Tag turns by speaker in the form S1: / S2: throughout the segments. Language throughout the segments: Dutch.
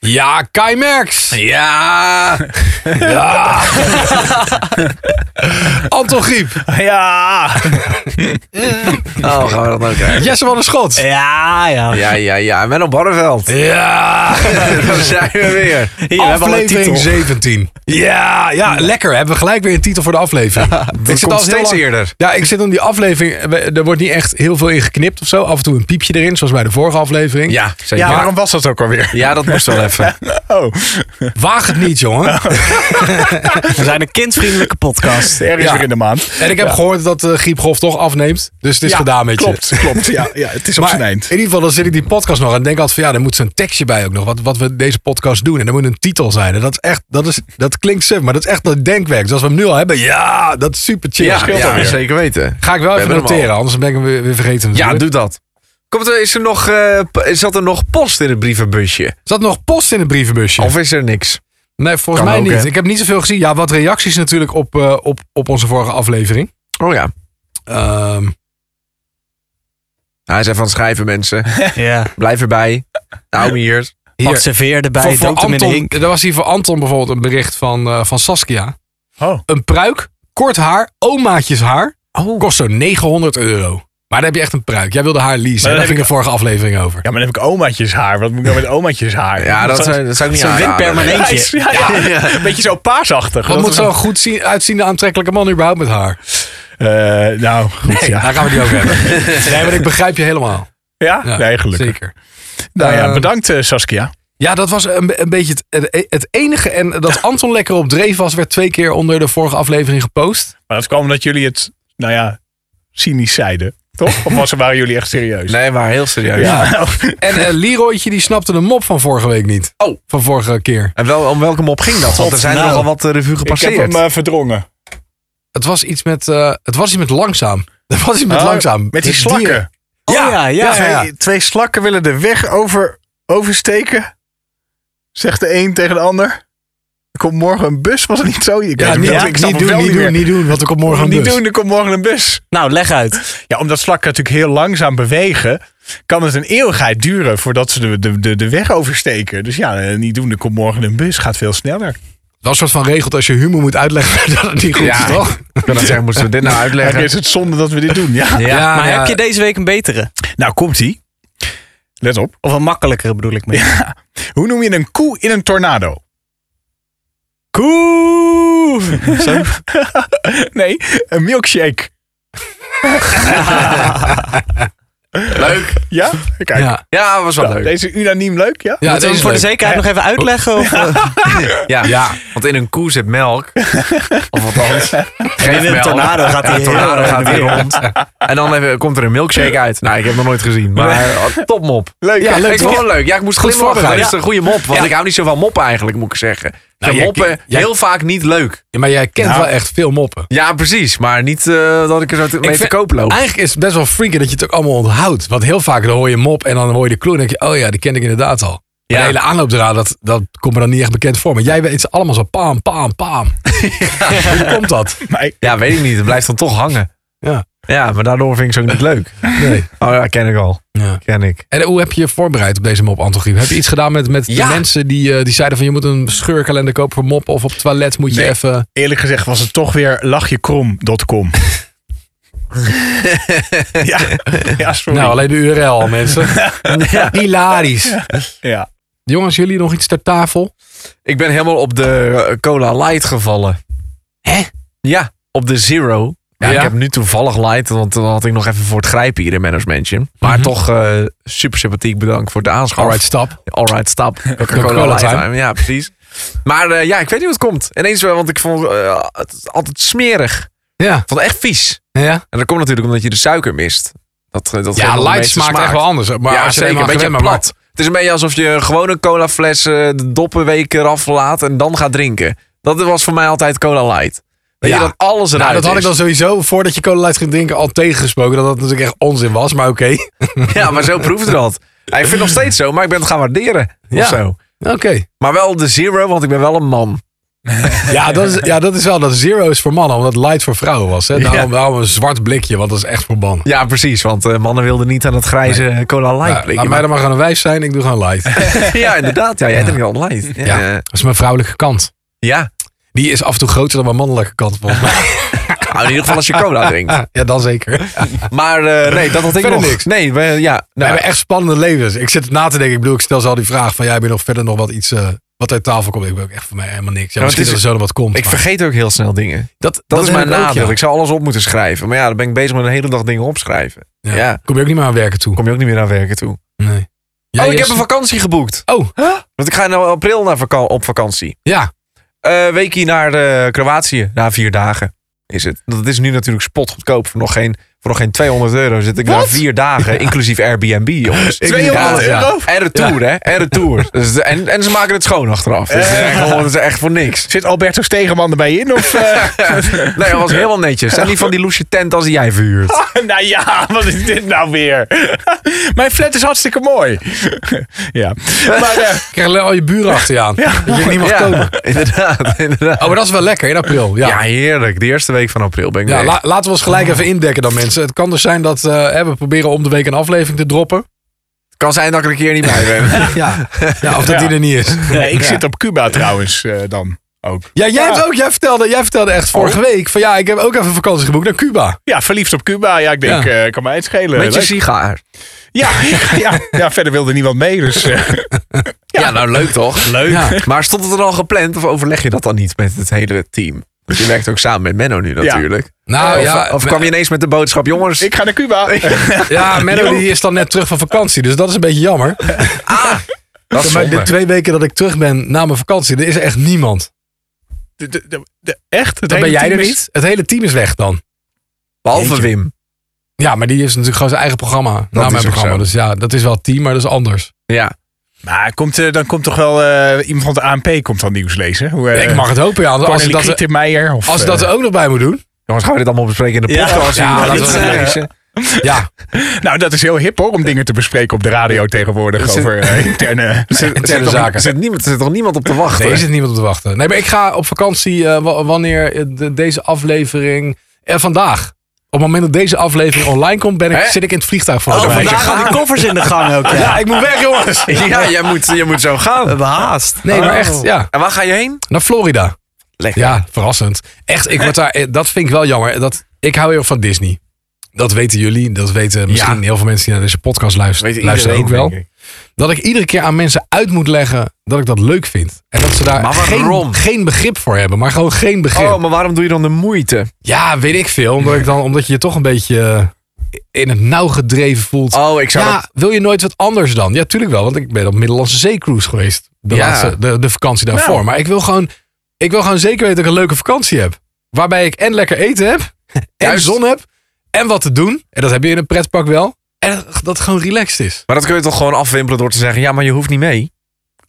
S1: Ja, Kai Merks.
S2: Ja.
S1: Ja. Anton Griep.
S3: Ja.
S2: Oh, gaan we dat nou krijgen?
S1: Jesse van der Schot.
S3: Ja, ja.
S2: Ja, ja, ja. En Menno Barneveld.
S1: Ja.
S2: Daar zijn we weer.
S3: Hier, we hebben al een
S1: Aflevering
S3: titel.
S1: 17. Ja, ja, lekker. Hebben we gelijk weer een titel voor de aflevering. ik
S2: komt
S1: heel
S2: steeds eerder.
S1: Ja, ik zit aan die aflevering. we- Er wordt niet echt heel veel in geknipt of zo. Af en toe een piepje erin, zoals bij de vorige aflevering.
S2: Ja, zeker.
S3: Ja,
S2: Ja,
S3: waarom was dat ook alweer?
S2: dat moest wel even.
S3: Oh.
S1: Waag het niet, jongen.
S3: We zijn een kindvriendelijke podcast. Ergens
S1: Ja.
S3: weer in de maand.
S1: En ik heb gehoord dat de griepgolf toch afneemt. Dus het is gedaan met
S3: klopt,
S1: je.
S3: Klopt, ja, ja. Het is op zijn
S1: Maar in
S3: eind.
S1: ieder geval, dan zit ik die podcast nog en denk altijd van ja, er moet zo'n tekstje bij ook nog. Wat, wat we deze podcast doen. En er moet een titel zijn. En dat is echt, dat, is, dat klinkt suf, maar dat is echt dat denkwerk. Zoals we hem nu al hebben. Ja, dat is super chill.
S2: Ja,
S1: Scheelt
S2: ja
S1: alweer.
S2: zeker weten.
S1: Ga ik wel even
S2: hebben hem
S1: noteren, anders ben ik hem weer, weer vergeten.
S2: Ja,
S1: natuurlijk.
S2: doe dat. Komt er, is er nog, eh, p- zat er nog post in het brievenbusje?
S1: Zat nog post in het brievenbusje?
S2: Of is er niks?
S1: nee, volgens
S2: Kan
S1: mij
S2: ook,
S1: niet.
S2: hè?
S1: Ik heb niet zoveel gezien. Ja, wat reacties natuurlijk op, eh, op, op onze vorige aflevering.
S2: Oh ja.
S1: Ehm,
S2: Hij zei van schrijven mensen.
S3: Ja.
S2: Blijf erbij. Hou me hier.
S3: Pak
S1: hier,
S3: serveer
S1: voor,
S3: erbij,
S1: voor
S3: dood hem in de
S1: Anton,
S3: hink.
S1: er was hier voor Anton bijvoorbeeld een bericht van, eh, van Saskia.
S3: Oh.
S1: Een pruik, kort haar, omaatjeshaar. Kost zo'n 900 euro. Maar dan heb je echt een pruik. Jij wilde haar leasen.
S3: Maar
S1: hè? Daar
S3: dan
S1: ging de vorige aflevering over.
S3: Ja, maar dan heb ik omaatjes haar. Wat moet ik nou met omaatjes haar?
S2: Ja, dat, zou- dat zou ik niet
S3: Zo'n
S2: aanraden.
S3: windpermanentje. Ja, ja, Een beetje zo paarsachtig.
S1: Wat
S3: Dat
S1: moet
S3: we-
S1: zo'n goed zien, uitziende aantrekkelijke man überhaupt met haar?
S3: Eh, nou, goed, ja.
S1: Daar gaan we die over hebben. Nee, maar ik begrijp je helemaal.
S3: Ja?
S1: Ja,
S3: nee, gelukkig.
S1: Zeker.
S3: Nou ja,
S1: Ehm,
S3: bedankt eh, Saskia.
S1: Ja, dat was een, be- een beetje het, het- het enige. En dat Anton lekker op dreef was, werd twee keer onder de vorige aflevering gepost.
S3: Maar dat kwam omdat jullie het, nou ja, cynisch zeiden. Toch? Of was, waren jullie echt serieus?
S2: Nee, maar heel serieus.
S3: Ja.
S1: En eh, Leroytje die snapte de mop van vorige week niet.
S2: Oh.
S1: Van vorige keer.
S2: En wel, om welke mop ging dat? Want er
S3: God,
S2: zijn
S3: nou.
S2: er nogal wat eh, revue
S3: ik heb
S2: gepasseerd.
S3: hem eh, verdrongen.
S1: Het was iets met, eh, het was iets met langzaam. Het was iets met
S3: Oh,
S1: langzaam.
S3: Met die
S1: dieren.
S3: slakken.
S1: ja, ja, ja, ja.
S3: Twee, twee slakken willen de weg over, oversteken. Zegt de een tegen de ander. Er komt morgen een bus, was het niet zo? Ik weet
S1: Ja,
S3: het
S1: niet,
S3: wel,
S1: niet
S3: snap het
S1: doen,
S3: wel
S1: niet doen,
S3: meer.
S1: niet doen, want er komt morgen een
S3: Niet
S1: bus.
S3: doen, er komt morgen een bus.
S4: Nou, leg uit.
S3: Ja, omdat slakken natuurlijk heel langzaam bewegen, kan het een eeuwigheid duren voordat ze de, de, de, de weg oversteken. Dus ja, eh, niet doen, er komt morgen een bus, gaat veel sneller.
S1: Dat is een soort van regelt als je humor moet uitleggen dat het niet goed
S2: Ja.
S1: is, toch?
S2: Ik kan dat zeggen, moesten we dit nou
S3: Eigenlijk
S2: uitleggen?
S3: is het zonde dat we dit doen, ja.
S4: Ja,
S1: Ja, nou
S4: maar
S1: ja.
S4: heb je deze week een betere?
S3: Nou, komt-ie. Let op.
S4: Of een makkelijkere bedoel ik mee?
S3: Hoe noem je een koe in een tornado?
S4: Koe!
S3: Nee, een milkshake.
S2: Leuk.
S3: Ja? Kijk.
S1: Ja.
S2: Ja, was wel
S3: Nou,
S2: leuk.
S3: Deze unaniem leuk, ja?
S1: Ja,
S4: Moeten we
S1: deze
S4: hem
S1: is
S4: voor de
S1: leuk.
S4: zekerheid nog even uitleggen? Of, eh,
S2: Ja.
S1: Ja.
S2: want in een koe zit melk. Of wat anders. Geen
S4: in een tornado gaat hij
S2: Ja, tornado
S4: heel
S2: gaat
S4: erg
S2: hij
S4: weer.
S2: rond. En dan even, komt er een milkshake uit. Nou, ik heb het nog nooit gezien. Maar eh, topmop.
S3: Leuk.
S2: Ja,
S3: hè?
S2: leuk. Ik vond het leuk. Ja, ik moest goed voorbereid. Nou,
S1: voorbereid.
S2: Dat is een goede mop. Want
S1: Ja.
S2: ik hou niet zo van moppen eigenlijk, moet ik zeggen. Ik vind
S1: jij-
S2: moppen
S1: jij-
S2: heel vaak niet leuk.
S1: Ja, maar jij kent
S3: Nou.
S1: wel echt veel moppen.
S2: Ja, precies. Maar niet eh, dat ik Ah. er zo te- mee
S1: vind-
S2: te koop loop.
S1: Eigenlijk is het best wel freaky dat je het ook allemaal onthoudt. Want heel vaak dan hoor je een mop en dan hoor je de clue en denk je, oh ja, die ken ik inderdaad al. Ja.
S2: Ja.
S1: De hele aanloop eraan, dat, dat komt me dan niet echt bekend voor. Maar jij weet ze allemaal zo paam, paam, paam. Hoe komt dat?
S3: Maar
S2: Ja, weet ik niet. Het blijft dan toch hangen.
S1: Ja.
S2: Ja, maar daardoor vind ik ze ook niet leuk.
S1: Nee.
S2: Oh ja, ken ik al.
S1: Ja.
S2: Ken ik.
S1: En hoe heb je je voorbereid op deze mop, Anton Griep? Heb je iets gedaan met, met
S2: Ja.
S1: de mensen die, eh, die zeiden van je moet een scheurkalender kopen voor mop of op het toilet moet je
S3: Nee.
S1: even...
S3: eerlijk gezegd was het toch weer lachjekrom.com. ja. ja, sorry.
S1: Nou, alleen de URL al, mensen. Hilarisch.
S3: ja.
S1: Jongens, jullie nog iets ter tafel?
S2: Ik ben helemaal op de eh, Cola Light gevallen.
S1: Hè?
S2: Ja, op de Zero. Ja,
S1: Ja?
S2: Ik heb nu toevallig Light, want dan had ik nog even voor het grijpen hier in managementje. Maar
S1: Mhm.
S2: toch eh, super sympathiek bedankt voor de aanschaf.
S1: Alright, stap.
S2: Alright, stap.
S1: Cola
S2: Coca-Cola
S1: Light.
S2: Light. Ja, precies. Maar eh, ja, ik weet niet hoe het komt. Ineens, wel, want ik vond eh, het altijd smerig. Ik
S1: Ja.
S2: vond het echt vies.
S1: Ja,
S2: En dat komt natuurlijk omdat je de suiker mist. Dat, eh, dat geeft
S1: ja
S2: wel de
S1: light
S2: meeste
S1: smaakt
S2: smaak.
S1: echt wel anders. Maar
S2: ja,
S1: als je er
S2: zeker. Een
S1: eenmaal
S2: beetje
S1: gewend bent, maar-
S2: plat. Het is een beetje alsof je gewoon een colafles, eh, de doppen week eraf laat en dan gaat drinken. Dat was voor mij altijd cola light. Weet
S1: Ja.
S2: je dat alles eruit
S1: Nou, dat had ik
S2: is.
S1: dan sowieso voordat je cola light ging drinken al tegengesproken. Dat dat natuurlijk echt onzin was, maar oké.
S2: Ja, maar zo proefde dat. Ja, ik vind het nog steeds zo, maar ik ben het gaan waarderen.
S1: Ja.
S2: Of zo.
S1: Oké.
S2: Maar wel de zero, want ik ben wel een man.
S1: Ja, dat is, ja, dat is wel dat zero is voor mannen, omdat light voor vrouwen was. Hè? Daarom, daarom een zwart blikje, want dat is echt verbannen.
S2: Ja, precies. Want eh, mannen wilden niet aan het grijze cola light
S1: Ja,
S2: blikje.
S1: laat mij dan maar gaan een wijs zijn, ik doe gewoon light.
S2: ja, inderdaad. Ja, jij drinkt al light. Ja.
S1: Ja.
S2: Ja.
S1: Dat is mijn vrouwelijke kant. Die is af en toe groter dan mijn mannelijke kant, volgens mij.
S2: Nou, in ieder geval als je cola drinkt.
S1: Ja, dan zeker.
S2: Maar eh, nee, dat had ik
S1: Verder
S2: nog.
S1: niks.
S2: Nee, we, ja,
S1: We
S2: nou,
S1: hebben echt spannende levens. Ik zit na te denken. Ik bedoel, ik stel ze al die vraag van... jij ja, bent nog verder nog wat iets eh, wat uit tafel komt? Ik ben ook echt voor mij helemaal niks. Ja,
S2: Ja, want
S1: misschien dat
S2: het
S1: er zo nog wat komt.
S2: ik
S1: maar-
S2: vergeet ook heel snel dingen.
S1: dat,
S2: Dat, is
S1: heb
S2: mijn
S1: ik ook,
S2: nadeel.
S1: ja.
S2: Ik zou alles op moeten schrijven. Maar ja, dan ben ik bezig met een hele dag dingen opschrijven.
S1: Ja.
S2: Ja.
S1: Kom je ook niet meer aan werken toe?
S2: Kom je ook niet meer aan werken toe.
S1: Nee. Ja,
S2: oh, ik
S1: je-
S2: heb een vakantie geboekt.
S1: Oh.
S2: Want ik ga in april naar vaka- op vakantie.
S1: Ja.
S2: Eh weekie naar eh, Kroatië. Na vier dagen is het. Dat is nu natuurlijk spotgoedkoop. Voor nog geen, voor nog geen 200 euro zit ik daar vier dagen. Inclusief Airbnb, jongens.
S3: 200
S2: Ja,
S3: euro?
S2: En retour, hè? En retour. Dus, en, en ze maken het schoon achteraf. Dus het is echt, gewoon- het is echt voor niks.
S3: Zit Alberto Stegeman erbij in? Of, eh,
S2: Nee, dat was helemaal netjes. Zijn die van die loesje tent als die jij verhuurt?
S3: nou ja, wat is dit nou weer? Mijn flat is hartstikke mooi. ja. Maar, eh,
S1: Ik krijg alleen al je buren achter je aan. Dat je niet mag
S2: ja,
S1: komen.
S2: Inderdaad, inderdaad.
S1: Oh, maar dat is wel lekker in april. Ja.
S2: Ja,
S1: Ja,
S2: heerlijk. De eerste week van april ben ik weer-
S1: la- laten we ons gelijk even indekken dan mensen. Het kan dus zijn dat eh, hè, we proberen om de week een aflevering te droppen.
S2: Kan zijn dat ik er een keer niet bij ben.
S1: Ja. ja of dat
S3: Ja.
S1: die er niet is.
S3: nee, ik zit op Cuba trouwens eh, dan ook.
S1: Ja, jij, hebt ook, jij, vertelde, jij vertelde echt vorige
S2: Oh.
S1: week van ja, ik heb ook even vakantie geboekt naar Cuba.
S3: Ja, verliefd op Cuba. Ja, ik denk,
S1: Ja.
S3: eh, kan mij het schelen.
S2: Met je
S3: Leuk.
S2: sigaar.
S3: Ja, ja, ja, verder wilde niemand mee. Dus, eh,
S2: Ja. nou leuk toch? Leuk. Maar stond het er al gepland of overleg je dat dan niet met het hele team? Want je werkt ook samen met Menno nu natuurlijk.
S1: Nou
S2: Of,
S1: ja,
S2: of kwam je ineens met de boodschap, jongens?
S3: ik ga naar Cuba.
S1: Ja, Menno die is dan net terug van vakantie, dus dat is een beetje jammer.
S2: dat is
S1: Ja, maar
S2: zonde.
S1: de twee weken dat ik terug ben na mijn vakantie, er is er echt niemand.
S3: De- de- de- de- echt? Het
S1: Dan ben
S3: hele
S1: jij
S3: team
S1: er
S3: is-
S1: niet. Het hele team is weg dan.
S2: Behalve Wim.
S1: Ja, maar die heeft natuurlijk gewoon zijn eigen programma. na
S2: is
S1: mijn
S2: ook
S1: programma.
S2: zo.
S1: Dus ja, dat is wel het team, maar dat is anders.
S2: Ja.
S3: Maar komt, eh, dan komt toch wel eh, iemand van de ANP komt dan nieuws lezen? Hoe, eh,
S1: ik mag het hopen, ja. Als, als,
S3: Cornelie
S1: ik dat,
S3: Krietenmeijer of,
S1: als ik dat
S3: eh,
S1: er ook nog bij moet doen.
S2: Jongens, gaan we dit allemaal bespreken in de
S4: Ja.
S2: podcast?
S1: Ja,
S2: Laten
S1: dat
S2: we eh, het
S1: is-
S2: even lezen.
S1: Ja,
S3: Nou, dat is heel hip hoor, om dingen te bespreken op de radio tegenwoordig
S2: Er zit-
S3: over eh, interne...
S2: Er zit- er zit
S1: Interne
S2: toch-
S1: zaken.
S2: Er zit, niemand, er zit toch niemand op te wachten?
S1: nee, er zit niemand op te wachten. Nee, maar ik ga op vakantie eh, wa- wanneer eh, de- deze aflevering... eh, vandaag. Op het moment dat deze aflevering online komt, ben ik,
S2: Hè?
S1: zit ik in het vliegtuig voor.
S4: Oh,
S1: de
S4: vandaag
S1: reis.
S4: gaan die koffers in de gang ook. Ja.
S1: Ja, ik moet weg, jongens. Oh.
S2: ja, jij moet, jij moet zo
S4: We
S2: gaan.
S4: hebben haast.
S1: Nee, maar echt, ja.
S2: En waar ga je heen?
S1: Naar Florida.
S2: Lekker.
S1: Ja, verrassend. Echt, ik word daar, eh, dat vind ik wel jammer. Dat, ik hou heel erg van Disney. Dat weten jullie. Dat weten misschien
S2: Ja.
S1: heel veel mensen die naar deze podcast luisteren,
S2: Weet
S1: luisteren ook
S2: iedereen,
S1: wel. Dat ik iedere keer aan mensen uit moet leggen dat ik dat leuk vind. En dat ze daar
S2: Maar waarom?
S1: geen, geen begrip voor hebben. Maar gewoon geen begrip.
S2: Oh, maar waarom doe je dan de moeite?
S1: Ja, weet ik veel. Omdat, ik dan, omdat je je toch een beetje eh, in het nauw gedreven voelt.
S2: Oh, ik zou
S1: ja,
S2: dat-
S1: wil je nooit wat anders dan? Ja, tuurlijk wel. Want ik ben op Middellandse Zeecruise geweest. De,
S2: Ja.
S1: laatste, de, de vakantie daarvoor.
S3: Nou.
S1: Maar ik wil, gewoon, ik wil gewoon zeker weten dat ik een leuke vakantie heb. Waarbij ik en lekker eten heb. En
S2: Juist.
S1: zon heb. En wat te doen. En dat heb je in een pretpark wel. En dat, dat het gewoon relaxed is.
S2: Maar dat kun je toch gewoon afwimpelen door te zeggen: ja, maar je hoeft niet mee.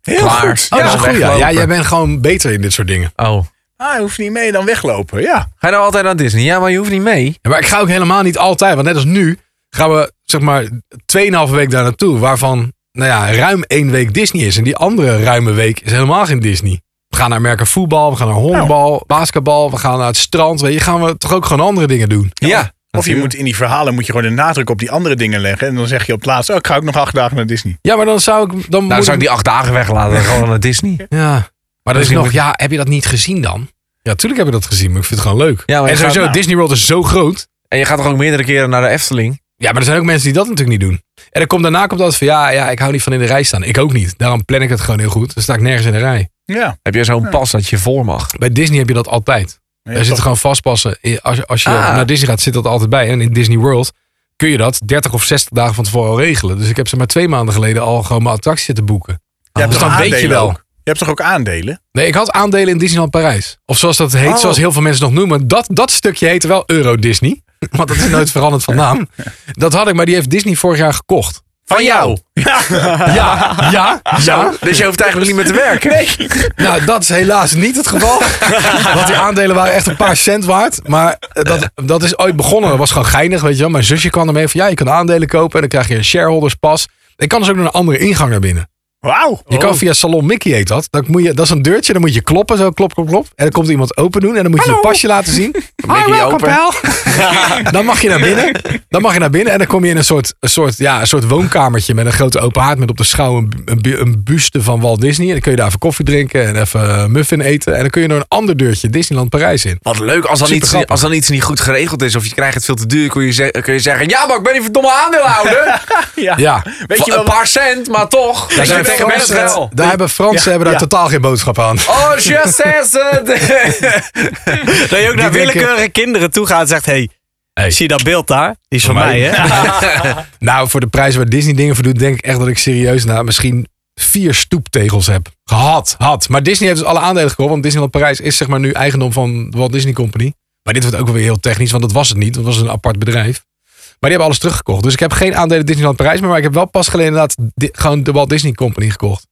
S3: Heel
S2: Klaar.
S3: goed.
S1: Oh, dat
S2: Ja,
S1: is een goeie.
S2: weglopen.
S1: Ja, jij bent gewoon beter in dit soort dingen.
S2: Oh.
S3: Ah, hij hoeft niet mee, dan weglopen. Ja,
S2: Ga je nou altijd naar Disney? Ja, maar je hoeft niet mee.
S1: Ja, maar ik ga ook helemaal niet altijd. Want net als nu gaan we zeg maar 2,5 week daar naartoe. Waarvan nou ja, ruim één week Disney is. En die andere ruime week is helemaal geen Disney. We gaan naar merken voetbal, we gaan naar honkbal, basketbal, we gaan naar het strand. Weet je, gaan we toch ook gewoon andere dingen doen.
S2: Ja.
S3: of je moet in die verhalen moet je gewoon de nadruk op die andere dingen leggen. En dan zeg je op het laatst, oh, ik ga ook nog acht dagen naar Disney.
S1: Ja, maar dan zou ik... Dan
S2: Nou,
S1: moet
S2: zou ik die acht dagen weglaten. gewoon naar Disney.
S1: Ja. Maar dan is
S2: Misschien
S1: nog,
S2: moet-
S1: ja, heb je dat niet gezien dan? Ja, tuurlijk heb ik dat gezien, maar ik vind het gewoon leuk.
S2: Ja, maar
S1: en
S2: je gaat-
S1: sowieso,
S3: nou.
S1: Disney World is zo groot.
S2: En je gaat toch ook meerdere keren naar de Efteling?
S1: Ja, maar er zijn ook mensen die dat natuurlijk niet doen. En dan komt daarna komt dat van, ja, ja, ik hou niet van in de rij staan. Ik ook niet. Daarom plan ik het gewoon heel goed. Dan sta ik nergens in de rij.
S3: Ja.
S2: Heb je zo'n pas dat je voor mag?
S1: Bij Disney heb je dat altijd. Daar zit gewoon vastpassen. I- Als je, als je
S2: Ah.
S1: naar Disney gaat, zit dat altijd bij. En in Disney World kun je dat 30 of 60 dagen van tevoren al regelen. Dus ik heb ze maar twee maanden geleden al gewoon mijn attractie zitten boeken.
S3: je hebt
S1: Dus
S3: toch
S1: dan weet je
S3: aandelen
S1: wel.
S3: ook? Je hebt toch ook aandelen?
S1: Nee, ik had aandelen in Disneyland Parijs. Of zoals dat heet,
S2: Oh.
S1: zoals heel veel mensen nog noemen. Dat, dat stukje heette wel Euro Disney. Want dat is nooit veranderd van naam. Dat had ik, maar die heeft Disney vorig jaar gekocht.
S2: Van jou?
S1: Ja, ja, ja.
S2: Dus je hoeft eigenlijk niet meer te werken? Nee.
S1: Nou, dat is helaas niet het geval. Want die aandelen waren echt een paar cent waard. Maar eh, dat, dat is ooit begonnen. Dat was gewoon geinig, weet je wel. Mijn zusje kwam ermee van, ja, je kan aandelen kopen. En dan krijg je een shareholderspas. Ik kan dus ook nog een andere ingang naar binnen.
S3: Wauw.
S1: Je kan via Salon Mickey heet dat. Dan moet je, dat is een deurtje, dan moet je kloppen, zo klop, klop, klop. En dan komt iemand open doen en dan moet je
S2: Hallo.
S1: je pasje laten zien. Hi,
S2: Mickey
S1: welkom
S2: open.
S1: pal. dan mag je naar binnen. Dan mag je naar binnen en dan kom je in een soort, een soort, ja, een soort woonkamertje met een grote open haard met op de schouw een, bu- een, bu- een buste van Walt Disney. En dan kun je daar even koffie drinken en even eh, muffin eten. En dan kun je door een ander deurtje Disneyland Parijs in.
S2: Wat leuk, als dan,
S1: Super
S2: iets,
S1: grappig.
S2: als dan iets niet goed geregeld is of je krijgt het veel te duur, kun je, ze- kun je zeggen: Ja, maar ik ben die verdomme aandeelhouder.
S3: Ja.
S1: Ja.
S3: Weet je
S2: een
S3: wel wat-
S2: paar cent, maar toch.
S1: Daar,
S2: Daar
S1: zijn
S2: zijn tegen mensen
S1: Fransen,
S2: wel.
S1: daar hebben Fransen
S3: Ja,
S1: hebben daar
S3: ja.
S1: totaal geen boodschap aan.
S2: Oh, je says it.
S4: Dat je
S1: Die
S4: ook naar
S1: denken-
S4: willekeurige kinderen toe gaat en zegt... Hey,
S1: Hey.
S4: Zie je dat beeld daar? Die is van
S1: Van
S4: mij,
S1: mij.
S4: hè?
S1: Nou, voor de prijs waar Disney dingen voor doet, denk ik echt dat ik serieus na misschien vier stoeptegels heb. Gehad, had. Maar Disney heeft dus alle aandelen gekocht, want Disneyland Parijs is zeg maar nu eigendom van de Walt Disney Company. Maar dit wordt ook wel weer heel technisch, want dat was het niet. Dat was een apart bedrijf. Maar die hebben alles teruggekocht. Dus ik heb geen aandelen Disneyland Parijs meer, maar ik heb wel pas geleden inderdaad di- gewoon de Walt Disney Company gekocht.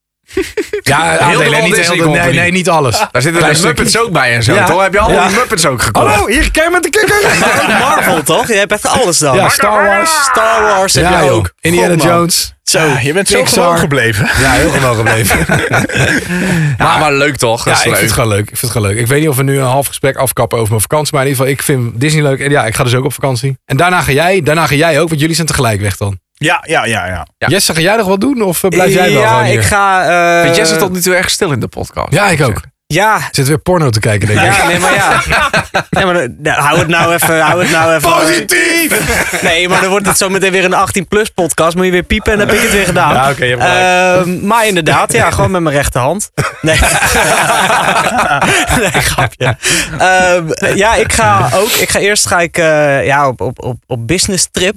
S1: ja,
S2: Walt
S1: aandelen, niet, heel
S2: Disney
S1: de-
S2: Company.
S1: nee, nee, niet alles.
S2: Daar zitten
S1: Klein
S2: de Muppets ook bij en zo.
S1: Ja.
S2: Toch heb je al
S1: Ja.
S2: die Muppets ook gekocht?
S1: Hallo, hier Kermit met de kikker.
S4: Maar ook Marvel, toch? Je hebt echt alles dan.
S1: Ja, Star Wars.
S4: Star Wars heb
S1: Ja,
S4: je
S1: joh.
S4: ook.
S1: Indiana
S4: God, man.
S1: Jones.
S4: Zo.
S3: Ah, je bent zo
S1: Pixar.
S3: gewoon gebleven.
S1: Ja, heel gewoon gebleven.
S2: Ja, maar leuk toch? Dat
S1: Ja,
S2: is
S1: ik vind
S2: leuk.
S1: het gewoon leuk. Ik vind het gewoon leuk. Ik weet niet of we nu een half gesprek afkappen over mijn vakantie. Maar in ieder geval, ik vind Disney leuk. En ja, ik ga dus ook op vakantie. En daarna ga jij, daarna ga jij ook, want jullie zijn tegelijk weg dan.
S3: Ja, ja, ja, ja.
S2: Ja.
S1: Jesse, ga jij nog wat doen? Of eh, blijf jij wel
S4: ja,
S1: gewoon hier?
S4: ik ga... eh,
S2: Vind Jesse tot nu toe erg stil in de podcast?
S1: Ja, ik ook.
S4: Ja,
S1: Ik zit weer porno te kijken, denk ik.
S4: ja, nee, maar ja. Nee, maar, eh, nou, hou het nou even, hou het nou even.
S1: Positief!
S4: Nee, maar dan wordt het zo meteen weer een 18-plus podcast. Moet je weer piepen en dan heb ik het weer gedaan.
S3: Ja, oké, je hebt
S4: Ehm, maar inderdaad, ja, gewoon met mijn rechterhand. Nee, nee grapje. Ehm, ja, ik ga ook. Ik ga eerst ga ik, eh, ja, op, op, op, op business trip.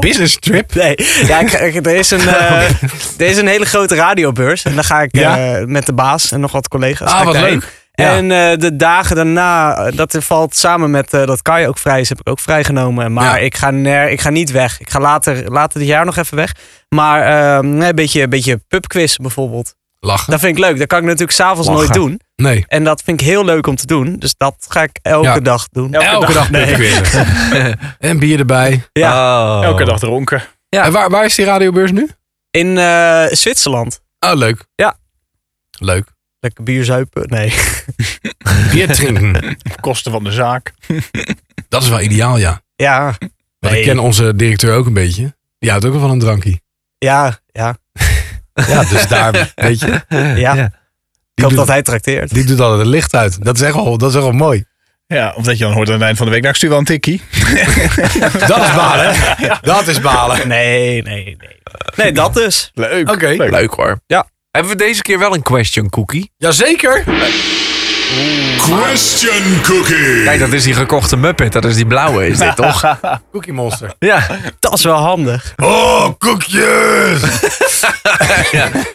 S1: Business trip.
S4: Nee, ja, ik, ik- er, is een, eh, er is een hele grote radiobeurs. En dan ga ik eh, met de baas en nog wat collega's. ga
S1: Ah,
S4: ik
S1: wat
S4: daarheen.
S1: leuk. Ja.
S4: En eh, de dagen daarna, eh, dat valt samen met eh, dat Kai ook vrij is, heb ik ook vrijgenomen. Maar
S1: Ja.
S4: ik, ga ner, ik ga niet weg. Ik ga later, later dit jaar nog even weg. Maar ehm, nee, een beetje, een beetje pubquiz bijvoorbeeld.
S1: Lachen.
S4: Dat vind ik leuk. Dat kan ik natuurlijk s'avonds
S2: Lachen.
S4: nooit doen.
S1: Nee.
S4: En dat vind ik heel leuk om te doen. Dus dat ga ik elke
S1: Ja.
S4: dag doen.
S3: Elke
S1: Elke
S3: dag.
S1: dag ben ik weer. En bier erbij.
S2: Ja.
S1: Oh.
S3: Elke dag dronken.
S4: Ja.
S1: En waar, waar is die radiobeurs nu?
S4: In eh, Zwitserland.
S1: Oh, leuk.
S4: Ja.
S1: Leuk.
S4: Lekker bier zuipen. Nee.
S1: Bier drinken.
S3: Op kosten van de zaak.
S1: Dat is wel ideaal, ja.
S4: Ja.
S1: Want
S4: Nee.
S1: ik ken onze directeur ook een beetje. Die houdt ook wel van een drankie.
S4: Ja, ja.
S1: Ja, dus daar, weet je.
S4: Ja. Ik hoop
S1: doet-
S4: dat hij trakteert.
S1: Die doet altijd het licht uit. Dat is echt wel, dat is echt wel mooi.
S3: Ja, omdat je dan hoort aan het eind van de week. Nou, ik stuur wel een tikkie.
S1: Dat is balen. hè? Dat is balen.
S4: Nee, nee, nee. Nee, dat dus.
S3: Leuk.
S1: Oké.
S3: Leuk.
S2: Leuk hoor.
S4: Ja.
S2: Hebben we deze keer wel een question cookie?
S1: Jazeker.
S5: Question Cookie.
S2: Kijk, dat is die gekochte Muppet. Dat is die blauwe, is dit toch?
S1: Cookie Monster.
S2: Ja.
S4: Dat is wel handig.
S1: Oh, koekjes.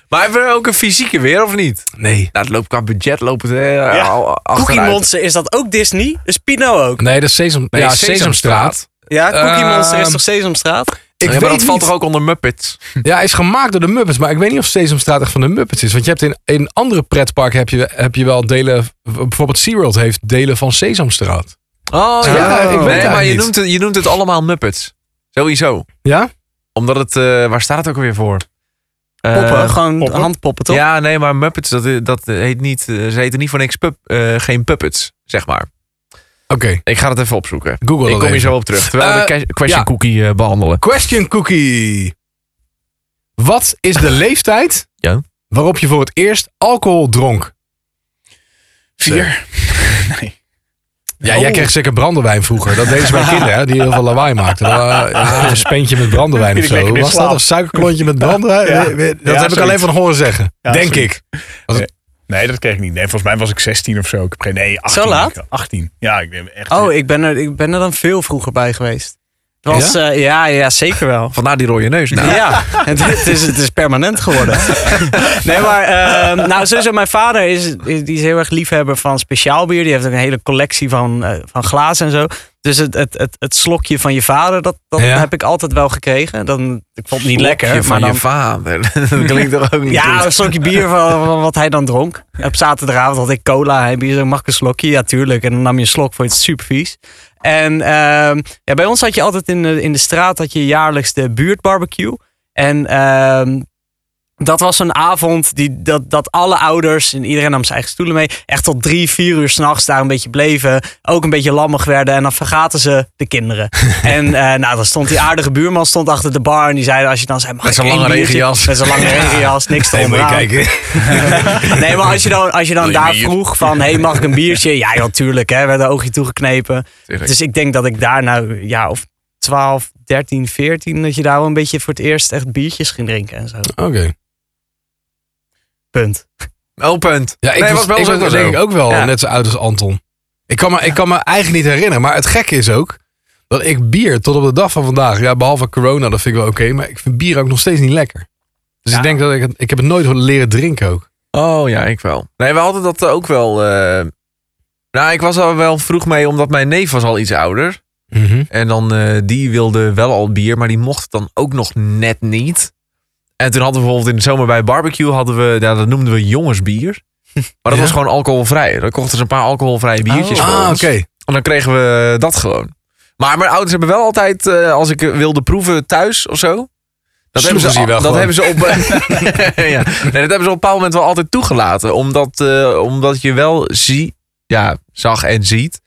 S2: Maar hebben we nou ook een fysieke weer of niet?
S1: Nee.
S2: Nou, het loopt qua budget lopen het eh,
S3: Ja.
S2: al achteruit.
S4: Cookie Monster, is dat ook Disney? Is Pino ook?
S1: Nee, dat is Sesam,
S2: Nee,
S1: ja,
S2: Sesamstraat.
S1: Sesamstraat.
S4: Ja, Cookie
S1: Ehm,
S4: Monster is toch Sesamstraat?
S1: Ik
S2: Ja, maar dat valt toch ook onder Muppets?
S1: Ja, is gemaakt door de Muppets. Maar ik weet niet of Sesamstraat echt van de Muppets is. Want je hebt in, in andere pretparken heb je, heb je wel delen... Bijvoorbeeld SeaWorld heeft delen van Sesamstraat.
S2: Oh
S1: ja, ik weet het
S2: nee, maar je
S1: eigenlijk
S2: noemt, het, je noemt het allemaal Muppets. Sowieso.
S1: Ja?
S2: Omdat het, eh, waar staat het ook weer voor? Eh,
S4: Poppen, gewoon
S3: poppen.
S4: handpoppen, toch?
S2: Ja, nee, maar Muppets, dat, dat heet niet, eh, ze heten niet voor niks pup, eh, geen puppets, zeg maar.
S1: Oké,
S2: Ik ga het even opzoeken.
S1: Google
S2: Ik
S1: dat
S2: kom hier
S1: even.
S2: zo op terug, terwijl we
S1: Eh,
S2: de que- question
S1: ja.
S2: cookie eh, behandelen.
S1: Question cookie. Wat is de leeftijd
S2: Ja.
S1: waarop je voor het eerst alcohol dronk?
S3: Vier. Nee.
S1: Ja,
S2: Oh.
S1: jij kreeg zeker brandewijn vroeger. Dat deden ze bij kinderen, hè, die heel veel lawaai maakten. Dan, eh, ja, een speentje met brandewijn of
S3: Vind ik
S1: zo.
S3: lekker in
S1: Was dat
S3: slaap.
S1: een suikerklontje met brandewijn?
S3: Ja.
S1: Eh, eh, Dat
S3: Ja,
S1: heb ik
S3: zoiets.
S1: alleen van horen zeggen.
S3: Ja,
S1: denk
S3: zoiets.
S1: ik.
S3: Nee, dat kreeg ik niet. Nee, volgens mij was ik 16 of zo. Ik heb geen, nee, 18.
S4: Zo laat?
S3: 18. Ja, ik ben echt...
S4: Oh, ik ben, er, ik ben er dan veel vroeger bij geweest. Het was, ja? ja, ja, zeker wel.
S2: Vandaar die rode neus. Nou,
S4: Ja, het, het is, het is permanent geworden. Nee, maar ehm, nou, sowieso mijn vader is, is- die is heel erg liefhebber van speciaal bier. Die heeft ook een hele collectie van, eh, van glazen en zo. Dus het, het, het, het slokje van je vader, dat, dat
S1: Ja.
S4: heb ik altijd wel gekregen. Dan, ik vond het niet
S2: Slokje
S4: lekker,
S2: van
S4: maar dan...
S2: je vader. dat klinkt toch ook niet
S4: Ja,
S2: goed.
S4: een slokje bier van, van wat hij dan dronk. Op zaterdagavond had ik cola, hij bier, mag ik een slokje? Ja, tuurlijk. En dan nam je een slok, vond je het super vies. En ehm, ja, bij ons had je altijd in de, in de straat had je jaarlijks de buurtbarbecue. En ehm, dat was een avond die, dat, dat alle ouders en iedereen nam zijn eigen stoelen mee. Echt tot drie, vier uur s'nachts daar een beetje bleven. Ook een beetje lammig werden. En dan vergaten ze de kinderen. en eh, nou, dan stond die aardige buurman stond achter de bar. En die zei, als je dan zei, mag
S1: Met
S4: ik
S1: zo'n
S4: één
S1: lange
S4: biertje?
S1: regenjas.
S4: Met zo'n lange regenjas, niks te
S1: Nee, moet je
S4: onderaan.
S1: kijken.
S4: Nee, maar als je dan, als je dan
S1: Wil je
S4: daar
S1: bier?
S4: vroeg van, hey, mag ik een biertje? Ja, joh, tuurlijk, hè, werd een oogje toegeknepen.
S2: Tuurlijk.
S4: Dus ik denk dat ik daar nou, ja, of 12, 13, 14, dat je daar wel een beetje voor het eerst echt biertjes ging drinken en zo.
S1: Oké.
S4: Punt.
S2: Oh, punt.
S1: Ja, ik
S2: Nee,
S1: was,
S2: was bij ons
S1: ik
S2: ook
S1: was
S2: wel
S1: denk
S2: zo.
S1: ik ook wel
S2: Ja.
S1: net zo oud als Anton. Ik kan, me, ik kan me eigenlijk niet herinneren. Maar het gekke is ook dat ik bier tot op de dag van vandaag... Ja, behalve corona, dat vind ik wel oké. maar ik vind bier ook nog steeds niet lekker. Dus ik denk dat ik... het- Ik heb het nooit leren drinken ook.
S2: Oh ja, ik wel. Nee, we hadden dat ook wel. eh, Nou, ik was er wel vroeg mee, omdat mijn neef was al iets ouder.
S1: Ah,
S2: En dan, eh, die wilde wel al bier, maar die mocht het dan ook nog net niet. En toen hadden we bijvoorbeeld in de zomer bij barbecue, hadden we, ja, dat noemden we jongensbier. Maar dat
S1: Ja?
S2: was gewoon alcoholvrij. Dan kochten ze een paar alcoholvrije biertjes voor
S1: Ah, oké.
S2: ons. En dan kregen we dat gewoon. Maar mijn ouders hebben wel altijd, eh, als ik eh, wilde proeven thuis of zo. Dat
S1: Sloegen
S2: hebben ze,
S1: ze je wel
S2: al- dat
S1: gewoon.
S2: hebben ze op. ja. nee, dat hebben ze op een bepaald moment wel altijd toegelaten. Omdat, eh, omdat je wel zie, ja, zag en ziet.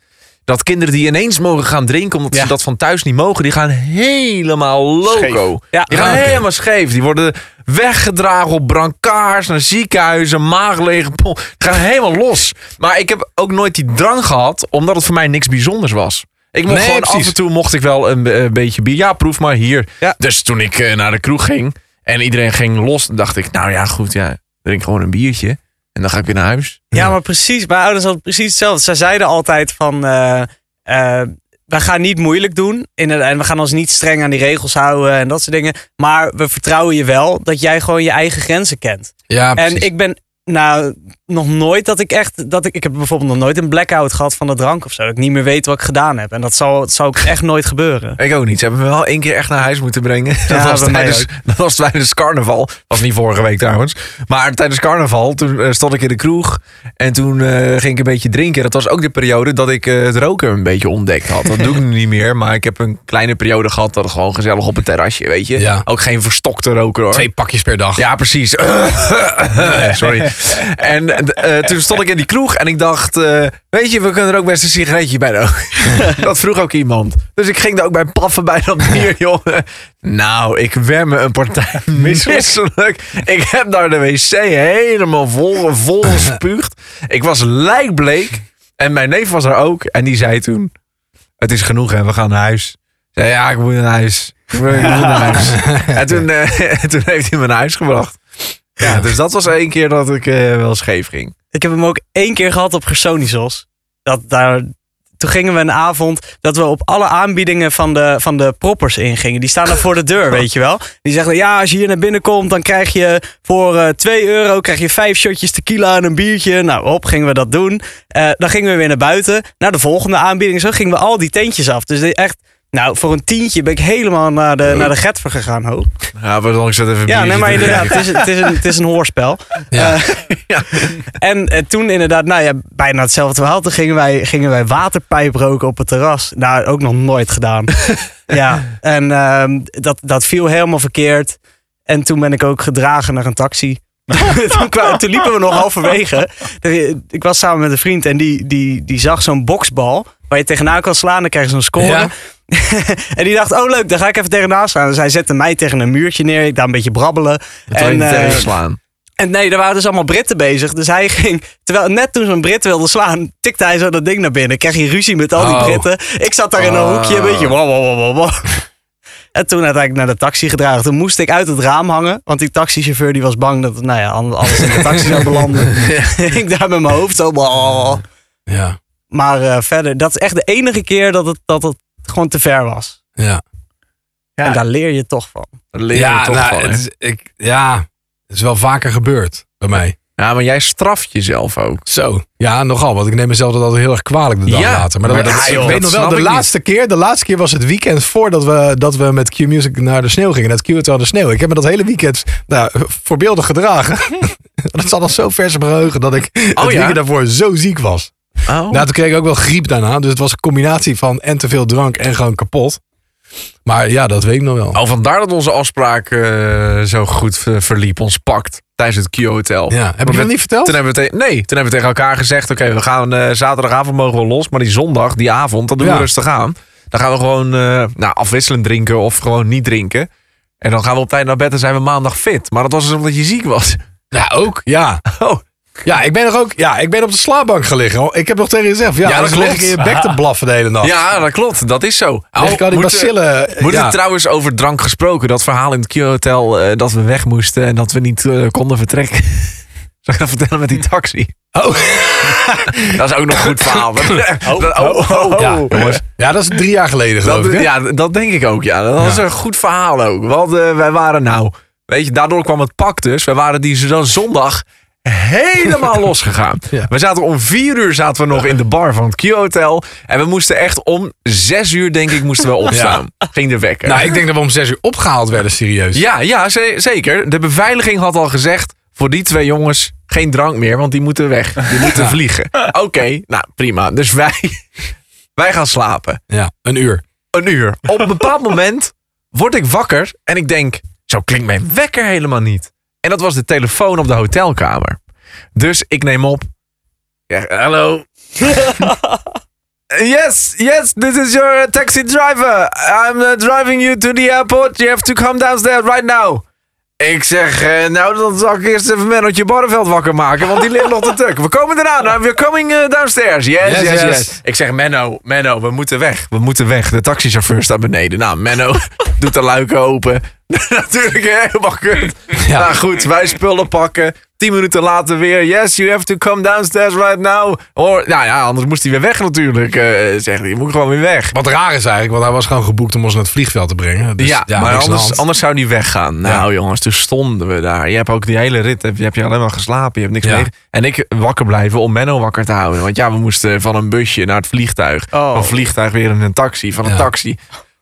S2: Dat kinderen die ineens mogen gaan drinken, omdat
S4: Ja.
S2: ze dat van thuis niet mogen, die gaan helemaal loco.
S4: Ja,
S2: Die gaan
S1: Ah, oké.
S2: helemaal scheef. Die worden weggedragen op brancards naar ziekenhuizen, maaglege pol. Die gaan helemaal los. Maar ik heb ook nooit die drang gehad, omdat het voor mij niks bijzonders was. Ik mocht
S1: Nee,
S2: gewoon
S1: precies.
S2: af en toe mocht ik wel een, be- een beetje bier. Ja, proef maar hier.
S4: Ja.
S2: Dus toen ik eh, naar de kroeg ging en iedereen ging los, dacht ik, nou ja, goed, ja, drink gewoon een biertje. En dan ga ik weer naar huis.
S4: Ja, maar precies. Mijn ouders hadden precies hetzelfde. Zij zeiden altijd van... eh, eh, we gaan niet moeilijk doen. In en we gaan ons niet streng aan die regels houden en dat soort dingen. Maar we vertrouwen je wel dat jij gewoon je eigen grenzen kent.
S1: Ja, precies.
S4: En ik ben nou nog nooit dat ik echt... Dat ik, ik heb bijvoorbeeld nog nooit een blackout gehad van de drank of zo. Dat ik niet meer weet wat ik gedaan heb. En dat zal, dat zal ook echt nooit gebeuren.
S2: Ik ook niet. Ze hebben me wel één keer echt naar huis moeten brengen.
S4: Ja,
S2: dat, was
S4: bij mij
S2: tijdens, dat was tijdens carnaval. was niet vorige week trouwens. Maar tijdens carnaval, toen eh, stond ik in de kroeg. En toen eh, ging ik een beetje drinken. Dat was ook de periode dat ik eh, het roken een beetje ontdekt had. Dat doe ik nu niet meer. Maar ik heb een kleine periode gehad dat gewoon gezellig op het terrasje, weet je.
S1: Ja.
S2: Ook geen verstokte roker hoor.
S1: Twee pakjes per dag.
S2: Ja, precies. Sorry. En eh, toen stond ik in die kroeg en ik dacht, eh, weet je, we kunnen er ook best een sigaretje bij roken. dat vroeg ook iemand. Dus ik ging daar ook bij paffen bij dat bier, jongen. Nou, ik werd me een partij misselijk. Ik heb daar de wc helemaal vol, vol gespuugd. Ik was lijkbleek en mijn neef was er ook en die zei toen, het is genoeg en we gaan naar huis. Ik zei, ja, ik moet naar huis. Ik moet ik moet naar huis. En toen, eh, toen heeft hij me naar huis gebracht. Ja, dus dat was één keer dat ik eh, wel scheef ging.
S4: Ik heb hem ook één keer gehad op Gersonisos. Dat daar, toen gingen we een avond dat we op alle aanbiedingen van de, van de proppers ingingen. Die staan daar voor de deur, weet je wel. Die zeggen, ja, als je hier naar binnen komt, dan krijg je voor eh 2 euro krijg je vijf shotjes tequila en een biertje. Nou, hop, gingen we dat doen. Eh, dan gingen we weer naar buiten, naar de volgende aanbieding. Zo gingen we al die tentjes af. Dus dit echt, nou, voor een tientje ben ik helemaal naar de, naar de Getver gegaan, hoop.
S2: Ja, maar dan ik zat even
S4: Ja,
S2: biertje
S4: nee, maar
S2: te
S4: inderdaad,
S2: drinken.
S4: het is, het is, een, het is een hoorspel.
S1: Ja.
S4: Eh, En eh, toen inderdaad, nou ja, bijna hetzelfde verhaal. Toen gingen wij, gingen wij waterpijp roken op het terras. Nou, ook nog nooit gedaan. ja, en ehm, dat, dat viel helemaal verkeerd. En toen ben ik ook gedragen naar een taxi. toen, kwa- toen liepen we nog halverwege. Ik was samen met een vriend en die, die, die zag zo'n boksbal. Waar je tegenaan kan slaan, dan krijg je zo'n score.
S1: Ja.
S4: en die dacht, oh leuk, daar ga ik even tegenaan slaan. Dus hij zette mij tegen een muurtje neer. Ik daar een beetje brabbelen.
S2: Dat wil je
S4: En,
S2: niet
S4: eh,
S2: tegenslaan.
S4: en nee, er waren dus allemaal Britten bezig. Dus hij ging, terwijl net toen zo'n Brit wilde slaan, tikte hij zo dat ding naar binnen. Kreeg hij ruzie met al die
S1: Oh.
S4: Britten. Ik zat daar in een
S2: Oh.
S4: hoekje, een beetje wow, wow, wow, wow, wow. En toen uiteindelijk naar de taxi gedragen. Toen moest ik uit het raam hangen, want die taxichauffeur die was bang dat nou ja, alles in de taxi zou belanden. ik daar met mijn hoofd zo. wow.
S1: Ja.
S4: Maar eh, verder, dat is echt de enige keer dat het, dat het gewoon te ver was.
S1: Ja.
S3: Ja.
S4: En daar leer je toch van.
S2: Daar leer je
S1: ja,
S2: toch
S1: nou,
S2: van, hè?
S1: het is, ik, ja, het is wel vaker gebeurd bij mij.
S2: ja, maar jij straft jezelf ook.
S1: Zo. Ja, nogal. Want ik neem mezelf dat altijd heel erg kwalijk de dag
S2: Ja,
S1: later. Maar, dat,
S2: maar
S1: dat-
S2: ja, joh,
S1: ik weet nog
S2: dat
S1: wel,
S2: snap
S1: de
S2: ik niet.
S1: laatste keer, de laatste keer was het weekend voordat we, dat we met Q-Music naar de sneeuw gingen. Dat Q-het wel de sneeuw. Ik heb me dat hele weekend nou, voorbeeldig gedragen. dat zat nog zo vers op mijn geheugen dat ik het
S2: Oh ja?
S1: weekend daarvoor zo ziek was.
S2: Oh.
S1: Nou, toen kreeg ik ook wel griep daarna. Dus het was een combinatie van en te veel drank en gewoon kapot. Maar ja, dat weet ik nog wel.
S2: Al vandaar dat onze afspraak eh, zo goed ver- verliep, ons pakt tijdens het Q-hotel.
S1: ja, heb ik
S2: Want
S1: dat
S2: we-
S1: niet verteld?
S2: Toen hebben we te- nee, toen hebben we tegen elkaar gezegd: oké, we gaan eh, zaterdagavond mogen we los, maar die zondag, die avond, dan doen
S1: Ja.
S2: we rustig aan. Dan gaan we gewoon eh, nou, afwisselend drinken of gewoon niet drinken. En dan gaan we op tijd naar bed en zijn we maandag fit. Maar dat was dus omdat je ziek was.
S1: Ja, ook. Ja.
S2: Oh.
S1: Ja, ik ben nog ook. Ja, ik ben op de slaapbank gelegen. hoor. Ik heb nog tegen je gezegd. Ja,
S2: Ja,
S1: dan
S2: dat
S1: lig ik
S2: klopt.
S1: in je bek te blaffen de hele nacht.
S2: Ja, dat klopt. Dat is zo.
S1: Lig ik al die
S2: Moet, eh,
S1: bacillen.
S2: Moet
S1: ja.
S2: het trouwens over drank gesproken, dat verhaal in het Q-hotel eh, dat we weg moesten en dat we niet eh, konden vertrekken. Zal ik dat vertellen met die taxi?
S1: Oh.
S2: Dat is ook nog een goed verhaal. Dat- oh, oh.
S1: Ja, jongens. Ja, dat is drie jaar geleden geloof
S2: Dat,
S1: ik. hè?
S2: ja, dat denk ik ook. Ja. Dat was
S1: Ja.
S2: een goed verhaal ook. Want eh, wij waren nou, weet je, daardoor kwam het pak dus. Wij waren die z- zondag helemaal losgegaan.
S1: Ja.
S2: We zaten om vier uur zaten we nog in de bar van het Q-hotel. En we moesten echt om zes uur, denk ik, moesten we opstaan. Ging de wekker.
S1: Nou, ik denk dat we om zes uur opgehaald werden, serieus.
S2: Ja, ja ze- zeker. De beveiliging had al gezegd... voor die twee jongens geen drank meer, want die moeten weg. Die moeten vliegen. Oké, nou prima. Dus wij, wij gaan slapen.
S1: Ja, een uur.
S2: Een uur. Op een bepaald moment word ik wakker en ik denk... zo klinkt mijn wekker helemaal niet. En dat was de telefoon op de hotelkamer. Dus ik neem op. Ja, hallo. yes, yes, this is your uh, taxi driver. I'm uh, driving you to the airport. You have to come downstairs right now. Ik zeg, eh, nou dan zal ik eerst even Mennootje Barneveld wakker maken, want die ligt nog te tuk. We komen eraan, uh, we're coming eh, downstairs. Yes yes, yes,
S1: yes.
S2: Ik zeg, Menno, Menno, we moeten weg. We moeten weg. De taxichauffeur staat beneden. Nou, Menno doet de luiken open. Natuurlijk helemaal kut. Nou goed, wij spullen pakken. Tien minuten later weer. Yes, you have to come downstairs right now. Or, nou ja, anders moest hij weer weg natuurlijk. eh zegt hij, je moet gewoon weer weg.
S1: Wat raar is eigenlijk, want hij was gewoon geboekt om ons naar het vliegveld te brengen. Dus, ja,
S2: ja, maar
S1: niks aan de
S2: anders,
S1: hand.
S2: anders zou die weggaan. Nou jongens, toen stonden we daar. Je hebt ook die hele rit, heb, je hebt je alleen maar geslapen. Je hebt niks
S1: Ja.
S2: meer. En ik wakker blijven om Menno wakker te houden. Want ja, we moesten van een busje naar het vliegtuig.
S4: Oh.
S2: Van vliegtuig weer in een taxi. Van een
S1: Ja.
S2: taxi.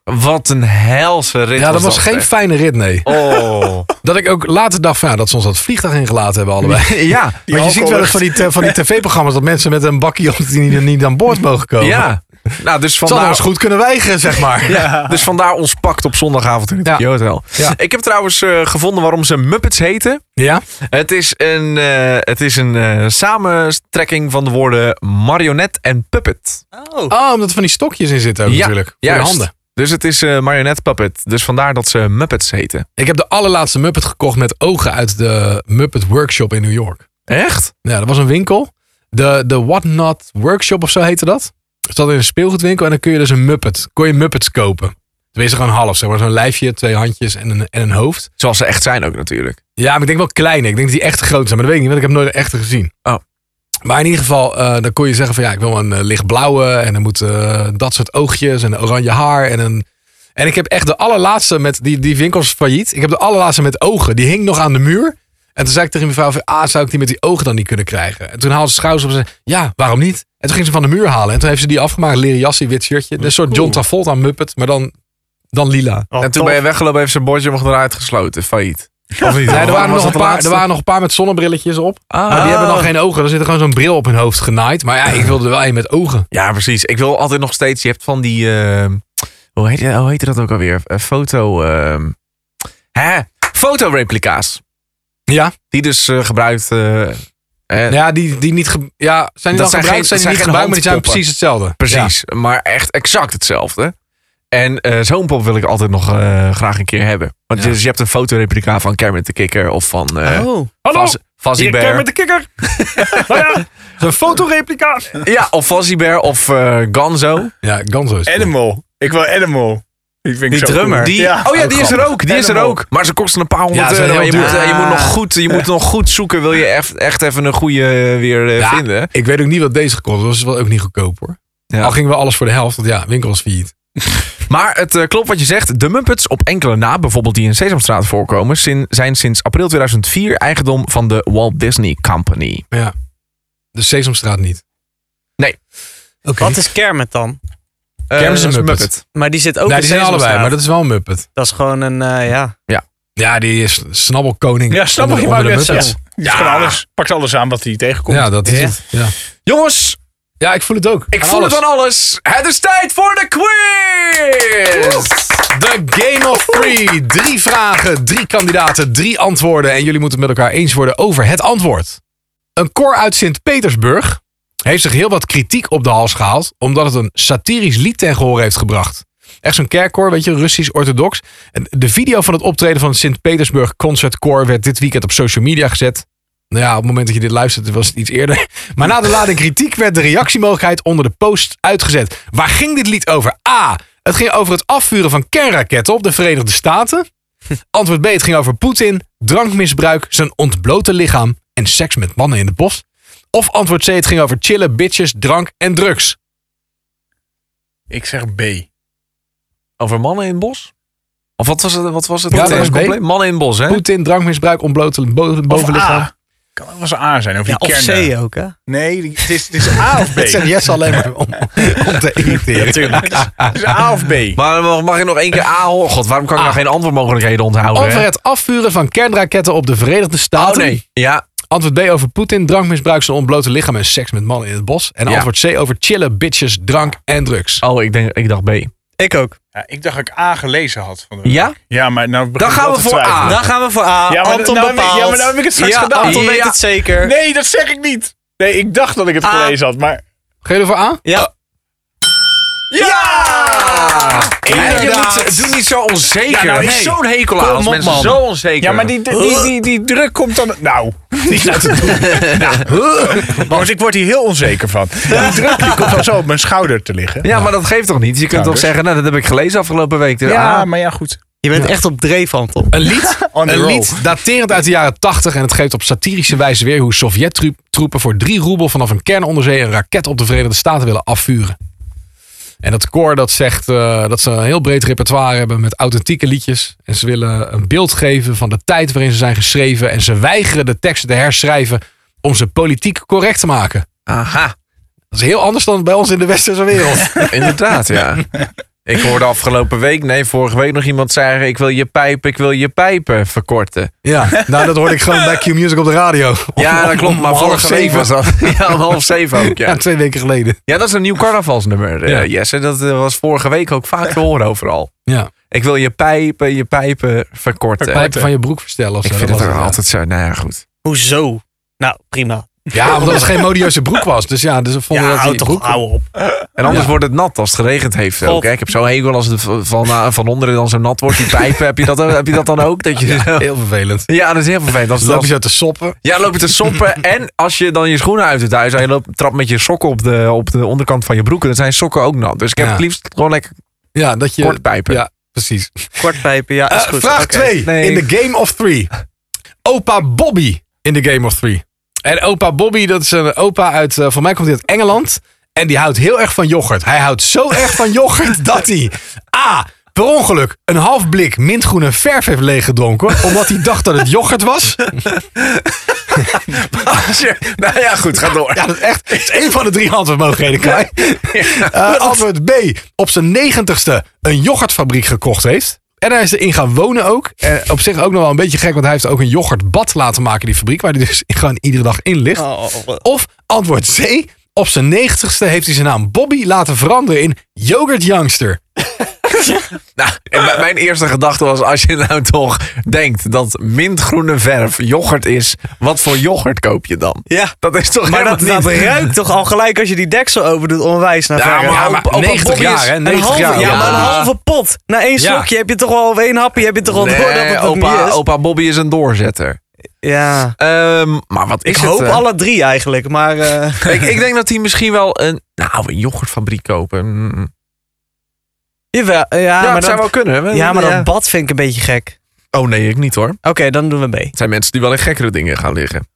S2: Wat een helse rit
S1: Ja, dat was geen
S2: zeg.
S1: fijne rit, nee.
S2: Oh.
S1: Dat ik ook later dacht van, ja, dat ze ons dat vliegtuig ingelaten hebben allebei.
S2: ja.
S1: Want je ziet wel eens
S3: alcohollucht.
S1: van die, te- van die tv-programma's dat mensen met een bakje op die niet, niet aan boord mogen komen.
S2: Ja. Nou, dus
S1: Het zal
S2: vandaar,
S1: ons goed kunnen weigeren, zeg maar.
S2: Ja, dus vandaar ons pakt op zondagavond in het
S1: Ja.
S2: ja. Hotel.
S1: Ja.
S2: Ik heb trouwens eh, gevonden waarom ze Muppets heten.
S1: Ja?
S2: Het is een, eh, het is een eh, samentrekking van de woorden marionet en puppet.
S4: Oh.
S1: Oh, omdat er van die stokjes in zitten ook
S2: Ja,
S1: natuurlijk. Voor je
S2: juist.
S1: handen.
S2: Dus het is eh marionet puppet. Dus vandaar dat ze Muppets heten.
S1: Ik heb de allerlaatste Muppet gekocht met ogen uit de Muppet Workshop in New York.
S2: Echt?
S1: Ja, dat was een winkel. De, de What Not Workshop of zo heette dat. Dus dat in een speelgoedwinkel en dan kun je dus een Muppet, kon je Muppets kopen. Tenminste gewoon half, zeg maar zo'n lijfje, twee handjes en een, en een hoofd.
S2: Zoals ze echt zijn ook natuurlijk.
S1: Ja, maar ik denk wel kleine. Ik denk dat die echt groot zijn, maar dat weet ik niet, want ik heb nooit een echte gezien.
S2: Oh.
S1: Maar in ieder geval, eh, dan kon je zeggen van ja, ik wil een eh, lichtblauwe en dan moet eh, dat soort oogjes en oranje haar en een... En ik heb echt de allerlaatste met, die, die winkels failliet, ik heb de allerlaatste met ogen. Die hing nog aan de muur. En toen zei ik tegen mijn vrouw van, ah, zou ik die met die ogen dan niet kunnen krijgen? En toen haalde ze schouders op en zei, ja, waarom niet? En toen ging ze van de muur halen en toen heeft ze die afgemaakt, leren jasje, wit shirtje. Dus Een soort John Travolta Muppet, maar dan, dan lila.
S3: Oh,
S2: en toen ben je weggelopen, heeft ze een bordje omhoog eruit gesloten. Failliet.
S1: Nee, er, waren
S2: Was
S1: nog
S2: dat
S1: een
S2: de
S1: paar,
S2: laatste?
S1: er waren nog een paar met zonnebrilletjes op.
S2: Ah.
S1: Maar Oh, die hebben dan geen ogen. Er zit gewoon zo'n bril op hun hoofd genaaid. Maar ja, ik wilde er wel een met ogen.
S2: Ja, precies. Ik wil altijd nog steeds. Je hebt van die. eh, hoe, heet, hoe heet dat ook alweer? Eh, foto. eh, hè? Fotoreplica's.
S1: Ja,
S2: Die dus eh, gebruikt. eh, eh,
S1: ja die, die niet... ge- Ja, zijn die dan
S2: Dat zijn
S1: gebruikt?
S2: geen-
S1: Zijn die niet
S2: zijn geen
S1: gebruikt, maar die zijn
S2: handpoppen.
S1: precies hetzelfde.
S2: Precies. Maar echt exact hetzelfde. En eh, zo'n pop wil ik altijd nog eh, graag een keer hebben. Want
S1: Ja.
S2: dus je hebt een fotoreplica van Kermit de Kikker of van eh
S4: Oh.
S2: Faz- Fuzzy Bear.
S3: de kikker. nou ja,
S1: Zo'n
S3: fotoreplica.
S2: Ja, of Fuzzy Bear of eh, Gonzo.
S1: Ja, Ganzo is cool.
S3: Animal. Ik wil Animal. Die, vind ik
S4: Die
S3: zo
S4: drummer.
S3: cool.
S2: Die,
S3: Ja.
S2: oh ja, die is er ook. Die is er
S3: Animal.
S2: ook. Maar ze kosten een paar honderd
S1: Ja, ze zijn
S2: euro. En Je,
S1: heel
S2: moet,
S1: duur.
S2: eh, je, moet nog goed, je moet nog goed zoeken. Wil je echt, echt even een goede eh, weer eh,
S1: Ja.
S2: vinden.
S1: Ik weet ook niet wat deze gekost was. Het was ook niet goedkoop hoor.
S2: Ja.
S1: Al gingen we alles voor de helft. Want ja, winkel was failliet.
S2: Maar het eh, klopt wat je zegt. De Muppets op enkele na, bijvoorbeeld die in Sesamstraat voorkomen... sin- zijn sinds april 2004 eigendom van de Walt Disney Company.
S1: Maar ja, de Sesamstraat niet.
S2: Nee.
S1: Oké.
S4: Wat is Kermit dan?
S2: Eh,
S1: Kermis en
S2: dat is
S1: Muppet.
S4: Maar die zit ook
S1: Nee,
S4: in
S1: die zijn
S4: Sesamstraat.
S1: allebei, maar dat is wel een Muppet.
S4: Dat is gewoon een, eh, ja.
S1: Ja, die is snabbelkoning.
S3: Ja, snap
S1: onder
S3: ik.
S1: de-
S3: wou
S1: onder de
S3: net
S1: Muppets.
S3: zeggen. Die is van alles. Pakt alles aan wat hij tegenkomt.
S1: Ja, dat is
S4: Ja.
S1: het. Ja.
S2: Jongens,
S1: Ja, ik voel het ook.
S2: Ik voel het
S1: alles.
S2: van alles. Het is tijd voor de quiz!
S1: The Game of Three. Drie vragen, drie kandidaten, drie antwoorden. En jullie moeten het met elkaar eens worden over het antwoord. Een koor uit Sint-Petersburg heeft zich heel wat kritiek op de hals gehaald. omdat het een satirisch lied ten gehoor heeft gebracht. Echt zo'n kerkkoor, weet je, Russisch-orthodox. En De video van het optreden van het Sint-Petersburg Concert Corps werd dit weekend op social media gezet. Nou ja, op het moment dat je dit luistert, was het iets eerder. Maar na de lading kritiek werd de reactiemogelijkheid onder de post uitgezet. Waar ging dit lied over? A. Het ging over het afvuren van kernraketten op de Verenigde Staten. Antwoord B. Het ging over Poetin, drankmisbruik, zijn ontblote lichaam en seks met mannen in de bos. Of antwoord C. Het ging over chillen, bitches, drank en drugs.
S3: Ik zeg B.
S2: Over mannen in het bos? Of wat was het? Wat was het?
S1: Ja,
S2: Wat
S1: dat
S2: was
S1: was
S2: het
S1: B.
S2: compleet? Mannen in het bos, hè?
S1: Poetin, drankmisbruik, ontblote bo-
S3: Of
S1: bovenlichaam.
S3: A. Kan ook wel eens A zijn. Of,
S4: Ja,
S3: die
S4: of
S3: kern.
S4: C ook, hè?
S3: Nee, die- het is, het is A of B.
S1: Het zijn Jess alleen maar om, om te irriteren.
S3: Natuurlijk. Het is A of B.
S2: Maar mag, mag ik nog één keer A horen? God, waarom kan ik
S1: Ah.
S2: nou geen antwoordmogelijkheden onthouden?
S1: Over
S2: hè?
S1: het afvuren van kernraketten op de Verenigde
S2: Oh
S1: Staten.
S2: nee. Ja,
S1: Antwoord B over Poetin, drankmisbruik, zijn ontblote lichaam en seks met mannen in het bos. En
S2: Ja.
S1: antwoord C over chillen, bitches, drank en drugs.
S2: oh, ik, denk, ik dacht B.
S4: Ik ook.
S3: Ja, ik dacht dat ik A gelezen had. Van de-
S2: Ja?
S3: Ja, maar nou begin
S2: Dan
S3: ik
S2: gaan
S3: wel
S2: we
S3: te
S2: voor A.
S3: twijfelen.
S4: Dan gaan we voor A.
S3: Ja, maar
S4: Anton
S3: nou heb ik-
S4: bepaalt.
S3: ja, maar nou heb ik het straks
S4: ja,
S3: gedaan.
S4: Anton weet
S2: Ja.
S4: het zeker.
S3: Nee, dat zeg ik niet. Nee, ik dacht dat ik het
S4: A.
S3: gelezen had, maar...
S1: Ga jullie voor A?
S4: Ja.
S2: Ja! Ja, je
S1: Inderdaad.
S2: moet, doe niet zo onzeker.
S3: Ja, nou,
S2: Ik heb
S3: nee.
S2: Zo'n hekel aan
S3: Kom
S2: als
S3: op,
S2: mensen
S3: man.
S2: zo onzeker.
S3: Ja, maar die, die, die, die, die druk komt dan... Nou, niet laten doen. Want ik word hier heel onzeker van. Die druk die komt dan zo op mijn schouder te liggen.
S2: Ja, maar dat geeft toch niet? Je kunt toch
S3: Schouders.
S2: zeggen, nou, dat heb ik gelezen afgelopen week. Dus,
S3: Ja,
S2: ah,
S3: maar ja, goed.
S4: Je bent echt op dreef, Anton.
S1: Een lied,
S3: On the
S1: een
S3: roll.
S1: lied daterend uit de jaren 80 en het geeft op satirische wijze weer hoe Sovjet-troepen voor 3 roebel vanaf een kernonderzee een raket op de Verenigde Staten willen afvuren. En dat koor dat zegt eh, dat ze een heel breed repertoire hebben met authentieke liedjes. En ze willen een beeld geven van de tijd waarin ze zijn geschreven. En ze weigeren de teksten te herschrijven om ze politiek correct te maken.
S2: Aha,
S1: Dat is heel anders dan bij ons in de westerse wereld.
S2: inderdaad, ja. Ik hoorde afgelopen week, nee, vorige week nog iemand zeggen... ik wil je pijpen, ik wil je pijpen verkorten.
S1: ja, nou dat hoorde ik gewoon bij Q Music op de radio.
S2: Ja, dat klopt, maar
S1: Om half
S2: vorige week
S1: zeven.
S2: was dat. Ja, om half zeven ook,
S1: Ja,
S2: ja.
S1: twee weken geleden.
S2: Ja, dat is een nieuw carnavalsnummer, eh,
S1: Ja.
S2: Jesse. Dat eh, was vorige week ook vaak te horen overal.
S1: Ja,
S2: Ik wil je pijpen, je pijpen verkorten.
S1: pijpen van je broek verstellen. Of
S2: Ik
S1: zo,
S2: vind
S1: dat
S2: het
S1: was
S2: er
S1: ja.
S2: altijd zo, nou ja, goed.
S4: Hoezo? Nou, prima.
S1: Ja, omdat het geen modieuze broek was. Dus ja, dus we vonden
S4: Ja,
S1: dat die
S4: houd toch
S1: broek...
S4: ouwe op.
S2: En anders
S1: Ja.
S2: wordt het nat als het geregend heeft ook.
S4: God.
S2: hè. Ik heb zo'n hekel als het van, van, eh, van onderen dan zo nat wordt. Die pijpen, heb je dat, heb je dat dan ook? Dat je zo-
S1: Heel vervelend.
S2: ja, dat is heel vervelend. Als,
S1: Dus
S2: het-
S1: loop je
S2: als,
S1: zo te soppen.
S2: ja, loop je te soppen. En als je dan je schoenen uit het huis en je loopt, trapt met je sokken op de, op de onderkant van je broeken. Dan zijn sokken ook nat. Dus ik heb
S1: Ja.
S2: het liefst gewoon lekker
S1: Ja, dat je...
S2: kort pijpen.
S1: Ja, precies.
S4: Kortpijpen, ja, is
S1: Eh,
S4: goed.
S1: vraag
S4: Oké.
S1: 2.
S2: Nee.
S1: In The Game of Three. Opa Bobby in The Game of Three. En opa Bobby, dat is een opa uit... eh, Voor mij komt hij uit Engeland. En die houdt heel erg van yoghurt. Hij houdt zo erg van yoghurt dat hij... A. Per ongeluk een half blik mintgroene verf heeft leeggedronken. Omdat hij dacht dat het yoghurt was.
S2: Als je- nou ja, goed, ga door.
S1: Ja, dat is echt dat is één van de drie handvermogelijkheden, Kai. Eh, antwoord B. Op zijn negentigste een yoghurtfabriek gekocht heeft. En hij is erin gaan wonen ook. Eh, op zich ook nog wel een beetje gek, want hij heeft ook een yoghurtbad laten maken, die fabriek. Waar hij dus gewoon iedere dag in ligt.
S4: Oh,
S1: Of antwoord C. Op zijn negentigste heeft hij zijn naam Bobby laten veranderen in Yoghurt Youngster.
S2: Nou, en mijn- mijn eerste gedachte was, als je nou toch denkt dat mintgroene verf yoghurt is, wat voor yoghurt koop je dan?
S4: Ja.
S2: Dat is toch
S4: Maar
S2: helemaal
S4: dat, dat
S2: niet...
S4: ruikt toch al gelijk als je die deksel open doet onwijs naar
S2: Ja,
S4: verf.
S2: maar,
S1: Ja,
S2: op-
S1: maar
S2: op een
S1: 90
S2: bobby
S1: jaar,
S2: is
S1: hè,
S2: een
S1: 90
S2: halve-
S1: jaar,
S4: Ja,
S2: Ja,
S4: maar een
S2: maar
S4: halve pot. Na één
S1: Ja.
S4: slokje heb je toch al, of één hapje heb je toch al door dat het
S2: Nee,
S4: dat niet
S2: opa,
S4: is.
S2: opa Bobby is een doorzetter.
S4: Ja.
S2: Ehm, maar wat is
S4: Ik
S2: het?
S4: hoop
S2: eh?
S4: alle drie eigenlijk, maar... eh,
S2: ik, ik denk dat hij misschien wel een, nou, een yoghurtfabriek kopen. Mm.
S4: jawel, ja,
S2: Ja,
S4: Ah, maar
S2: dat zou
S4: dat,
S2: wel kunnen. hè?
S4: ja, maar dat bad vind ik een beetje gek.
S2: Oh nee, ik niet hoor.
S4: Oké, dan doen we B.
S2: Het zijn mensen die wel in gekkere dingen gaan liggen.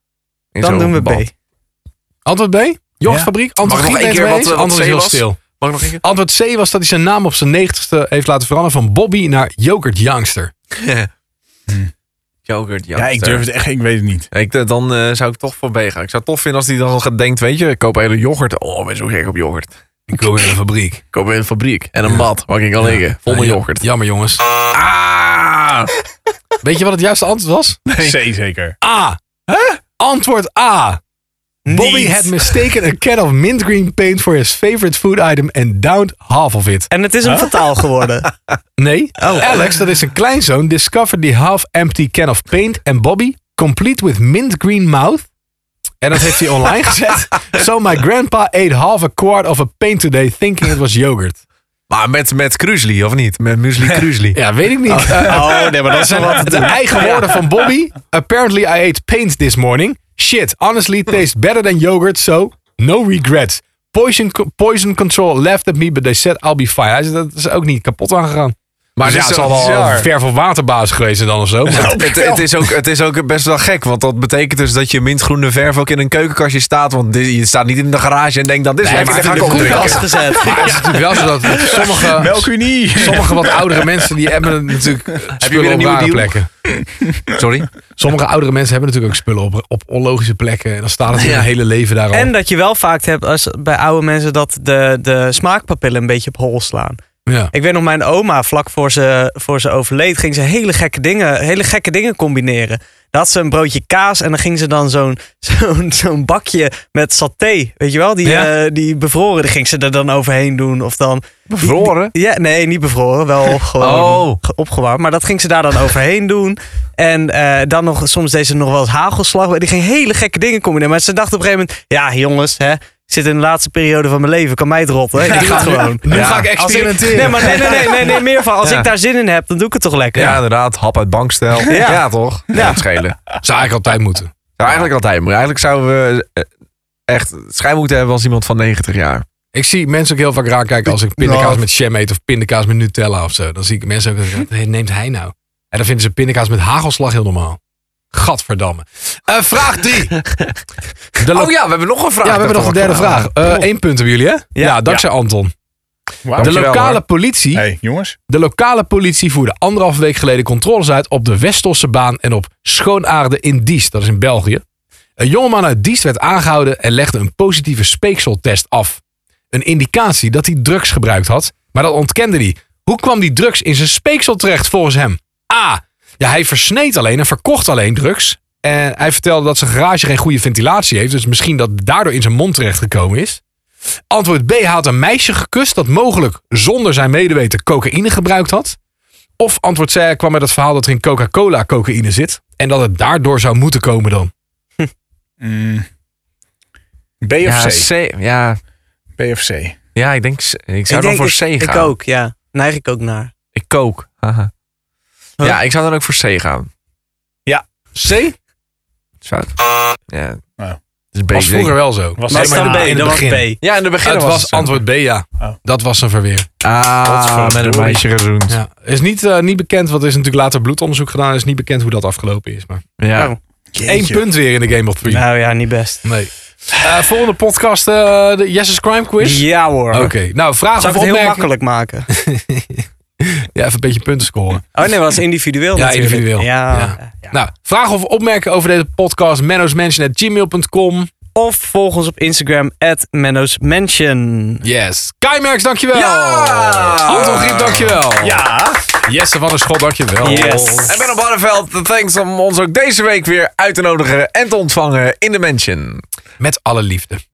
S2: In
S4: Dan
S2: zo'n
S4: doen we
S2: bad.
S4: B.
S1: Antwoord B. Yoghurtfabriek.
S2: Mag
S1: Antwoord
S2: ik nog
S1: G. ben
S2: één
S1: je
S2: keer
S1: het mee
S2: wat- eh,
S1: eens?
S2: wat
S1: Antwoord is
S2: C
S1: heel
S2: was?
S1: stil.
S2: Mag ik nog een keer?
S1: Antwoord C was dat hij zijn naam op zijn negentigste heeft laten veranderen van Bobby naar Yoghurt Youngster.
S2: Yoghurt,
S3: Ja, ik durf het echt, ik weet het niet.
S2: Ik, eh, dan eh, zou ik toch voor B gaan. Ik zou het tof vinden als hij dan gaat- denkt, weet je, ik koop hele yoghurt. Oh, ik ben zo gek op yoghurt.
S1: Ik wil in een fabriek.
S2: Ik koop een hele fabriek en een bad waar ik in kan liggen. Vol met
S1: Ja,
S2: yoghurt.
S1: Jammer jongens.
S2: Ah!
S1: Weet je wat het juiste antwoord was?
S3: C zeker.
S1: A. Antwoord A. Bobby
S3: Niet.
S1: had mistaken a can of mint green paint for his favorite food item and downed half of it.
S4: En het is een fataal geworden.
S1: Nee, Alex, dat is zijn kleinzoon, discovered the half empty can of paint and Bobby, complete with mint green mouth. En dat heeft hij online gezet. So my grandpa ate half a quart of a paint today thinking it was yogurt.
S2: Maar met, met Kruzli, of niet? Met Muesli Kruzli.
S1: Ja, weet ik niet. Eh,
S4: Oh, nee, maar dat is
S1: zijn de eigen woorden van Bobby. Apparently I ate paint this morning. Shit, honestly tastes better than yogurt, so no regrets. Poison, poison control laughed at me, but they said I'll be fine. Hij is, dat is ook niet kapot aangegaan. Maar
S2: het
S1: ja,
S2: is
S1: het
S2: zo
S1: zal wel
S2: bizar.
S1: een ver van waterbaas geweest zijn dan of zo. Maar
S2: Het, het, is ook, het is ook best wel gek, want dat betekent dus dat je mintgroene verf ook in een keukenkastje staat. Want dit- je staat niet in de garage en denkt, dat is lekker,
S1: maar
S2: daar ga ik
S1: in de
S2: op drinken.
S4: koelkast gezet.
S1: het is natuurlijk wel zo dat sommige,
S3: Melkunie.
S1: sommige wat oudere mensen die hebben natuurlijk
S2: weer
S1: spullen
S2: een
S1: op
S2: nieuwe
S1: rare
S2: deal?
S1: plekken.
S2: Sorry?
S1: Sommige oudere mensen hebben natuurlijk ook spullen op, op onlogische plekken. En dan staat het hun hele leven daarop.
S4: En dat je wel vaak hebt als bij oude mensen dat de, de smaakpapillen een beetje op hol slaan.
S1: ja.
S4: Ik weet nog, mijn oma, vlak voor ze, voor ze overleed, ging ze hele gekke dingen, hele gekke dingen combineren. Dan had ze een broodje kaas en dan ging ze dan zo'n zo'n zo'n bakje met saté, weet je wel, die,
S1: Ja.
S4: eh, die bevroren, die ging ze er dan overheen doen. Of dan,
S2: Bevroren?
S4: ja, nee, niet bevroren, wel gewoon
S2: Oh.
S4: ge- opgewarmd. Maar dat ging ze daar dan overheen doen. En eh, dan nog, soms deed ze nog wel eens hagelslag. Die ging hele gekke dingen combineren. Maar ze dacht op een gegeven moment, ja jongens, hè, ik zit in de laatste periode van mijn leven, kan mij het rotten. Ik doe het gewoon.
S1: Nu
S2: Ja.
S1: ga ik
S4: Als ik-
S1: experimenteren.
S4: nee, maar nee, nee, nee, nee, nee, meer van. Als ik daar zin in heb, dan doe ik het toch lekker.
S2: Ja, inderdaad. Hap uit bankstel. Ja, toch? Ja. het schelen.
S1: Zou eigenlijk altijd moeten.
S2: Nou, eigenlijk altijd. Maar eigenlijk zouden we eh, echt schijn moeten hebben als iemand van 90 jaar.
S1: Ik zie mensen ook heel vaak raar kijken als ik pindakaas met jam eet of pindakaas met Nutella of zo. Dan zie ik mensen ook dat ik denk, "Hey, neemt hij nou? En dan vinden ze pindakaas met hagelslag heel normaal. Gadverdamme. Eh, vraag drie. De lo-
S2: Oh ja, we hebben nog een vraag.
S1: ja, we hebben nog een derde vraag. Eén punt hebben jullie, hè? Ja, dankzij Anton.
S3: Wauw.
S1: De
S2: Dankjewel,
S1: lokale,
S2: hoor.
S1: politie,
S3: Hey, jongens.
S1: de lokale politie voerde anderhalf week geleden controles uit op de Westelse baan en op Schoonaarde in Diest. Dat is in België. Een jongeman uit Diest werd aangehouden en legde een positieve speekseltest af. Een indicatie dat hij drugs gebruikt had, maar dat ontkende hij. Hoe kwam die drugs in zijn speeksel terecht volgens hem? A. Ja, hij versneed alleen en verkocht alleen drugs. En hij vertelde dat zijn garage geen goede ventilatie heeft, dus misschien dat het daardoor in zijn mond terecht gekomen is. Antwoord B. Hij had een meisje gekust dat mogelijk zonder zijn medeweten cocaïne gebruikt had. Of antwoord C. Hij kwam met het verhaal dat er in Coca-Cola cocaïne zit en dat het daardoor zou moeten komen dan.
S3: Mm. B
S2: Ja,
S3: of C?
S2: C. Ja,
S3: B of C?
S2: ja, ik denk... C. Ik zou
S4: ik
S2: dan
S4: denk,
S2: voor
S4: ik,
S2: C gaan.
S4: Ik ook, ja. Neig ik ook naar.
S2: Ik kook. Haha.
S4: Huh?
S2: Ja, ik zou dan ook voor C gaan.
S1: C?
S2: Zou Ja.
S3: Nou.
S2: Het is
S1: Was
S2: basic.
S1: vroeger wel zo.
S3: Was
S4: Maar
S3: alleen
S4: het is dan
S3: maar
S1: in
S4: B,
S1: het
S4: dan was
S1: begin.
S4: B.
S2: Ja, in de begin
S1: Het
S2: was
S1: was antwoord B, ja.
S3: Oh.
S1: Dat was een verweer.
S2: Ah,
S3: Godverdorie.
S2: met een meisje gezoend.
S1: Ja. Is niet, eh, niet bekend, want er is natuurlijk later bloedonderzoek gedaan. Is niet bekend hoe dat afgelopen is. Maar
S2: Ja.
S4: Oh.
S1: één punt weer in de Game of Three.
S4: Nou ja, niet best.
S1: Nee. Eh, volgende podcast, eh, de Yes is Crime Quiz.
S4: Ja hoor.
S1: Oké, nou vraag
S4: Zou
S1: of
S4: ik het heel
S1: opmerking.
S4: makkelijk maken?
S1: Ja, even een beetje punten scoren.
S4: Oh nee, was individueel
S1: Ja,
S4: natuurlijk.
S1: individueel.
S4: Ja.
S1: Ja.
S4: ja.
S1: Nou, vraag of opmerken over deze podcast. menno'smansion.gmail.com
S4: Of volg ons op Instagram, at Menno's Mansion.
S1: Yes. Kai Merks, dankjewel.
S2: Ja!
S1: Anton Griep, dankjewel.
S3: Ja.
S1: Jesse van der Schot, dankjewel.
S4: Yes.
S2: En Benno Barneveld, thanks om ons ook deze week weer uit te nodigen en te ontvangen in de Mansion.
S1: Met alle liefde.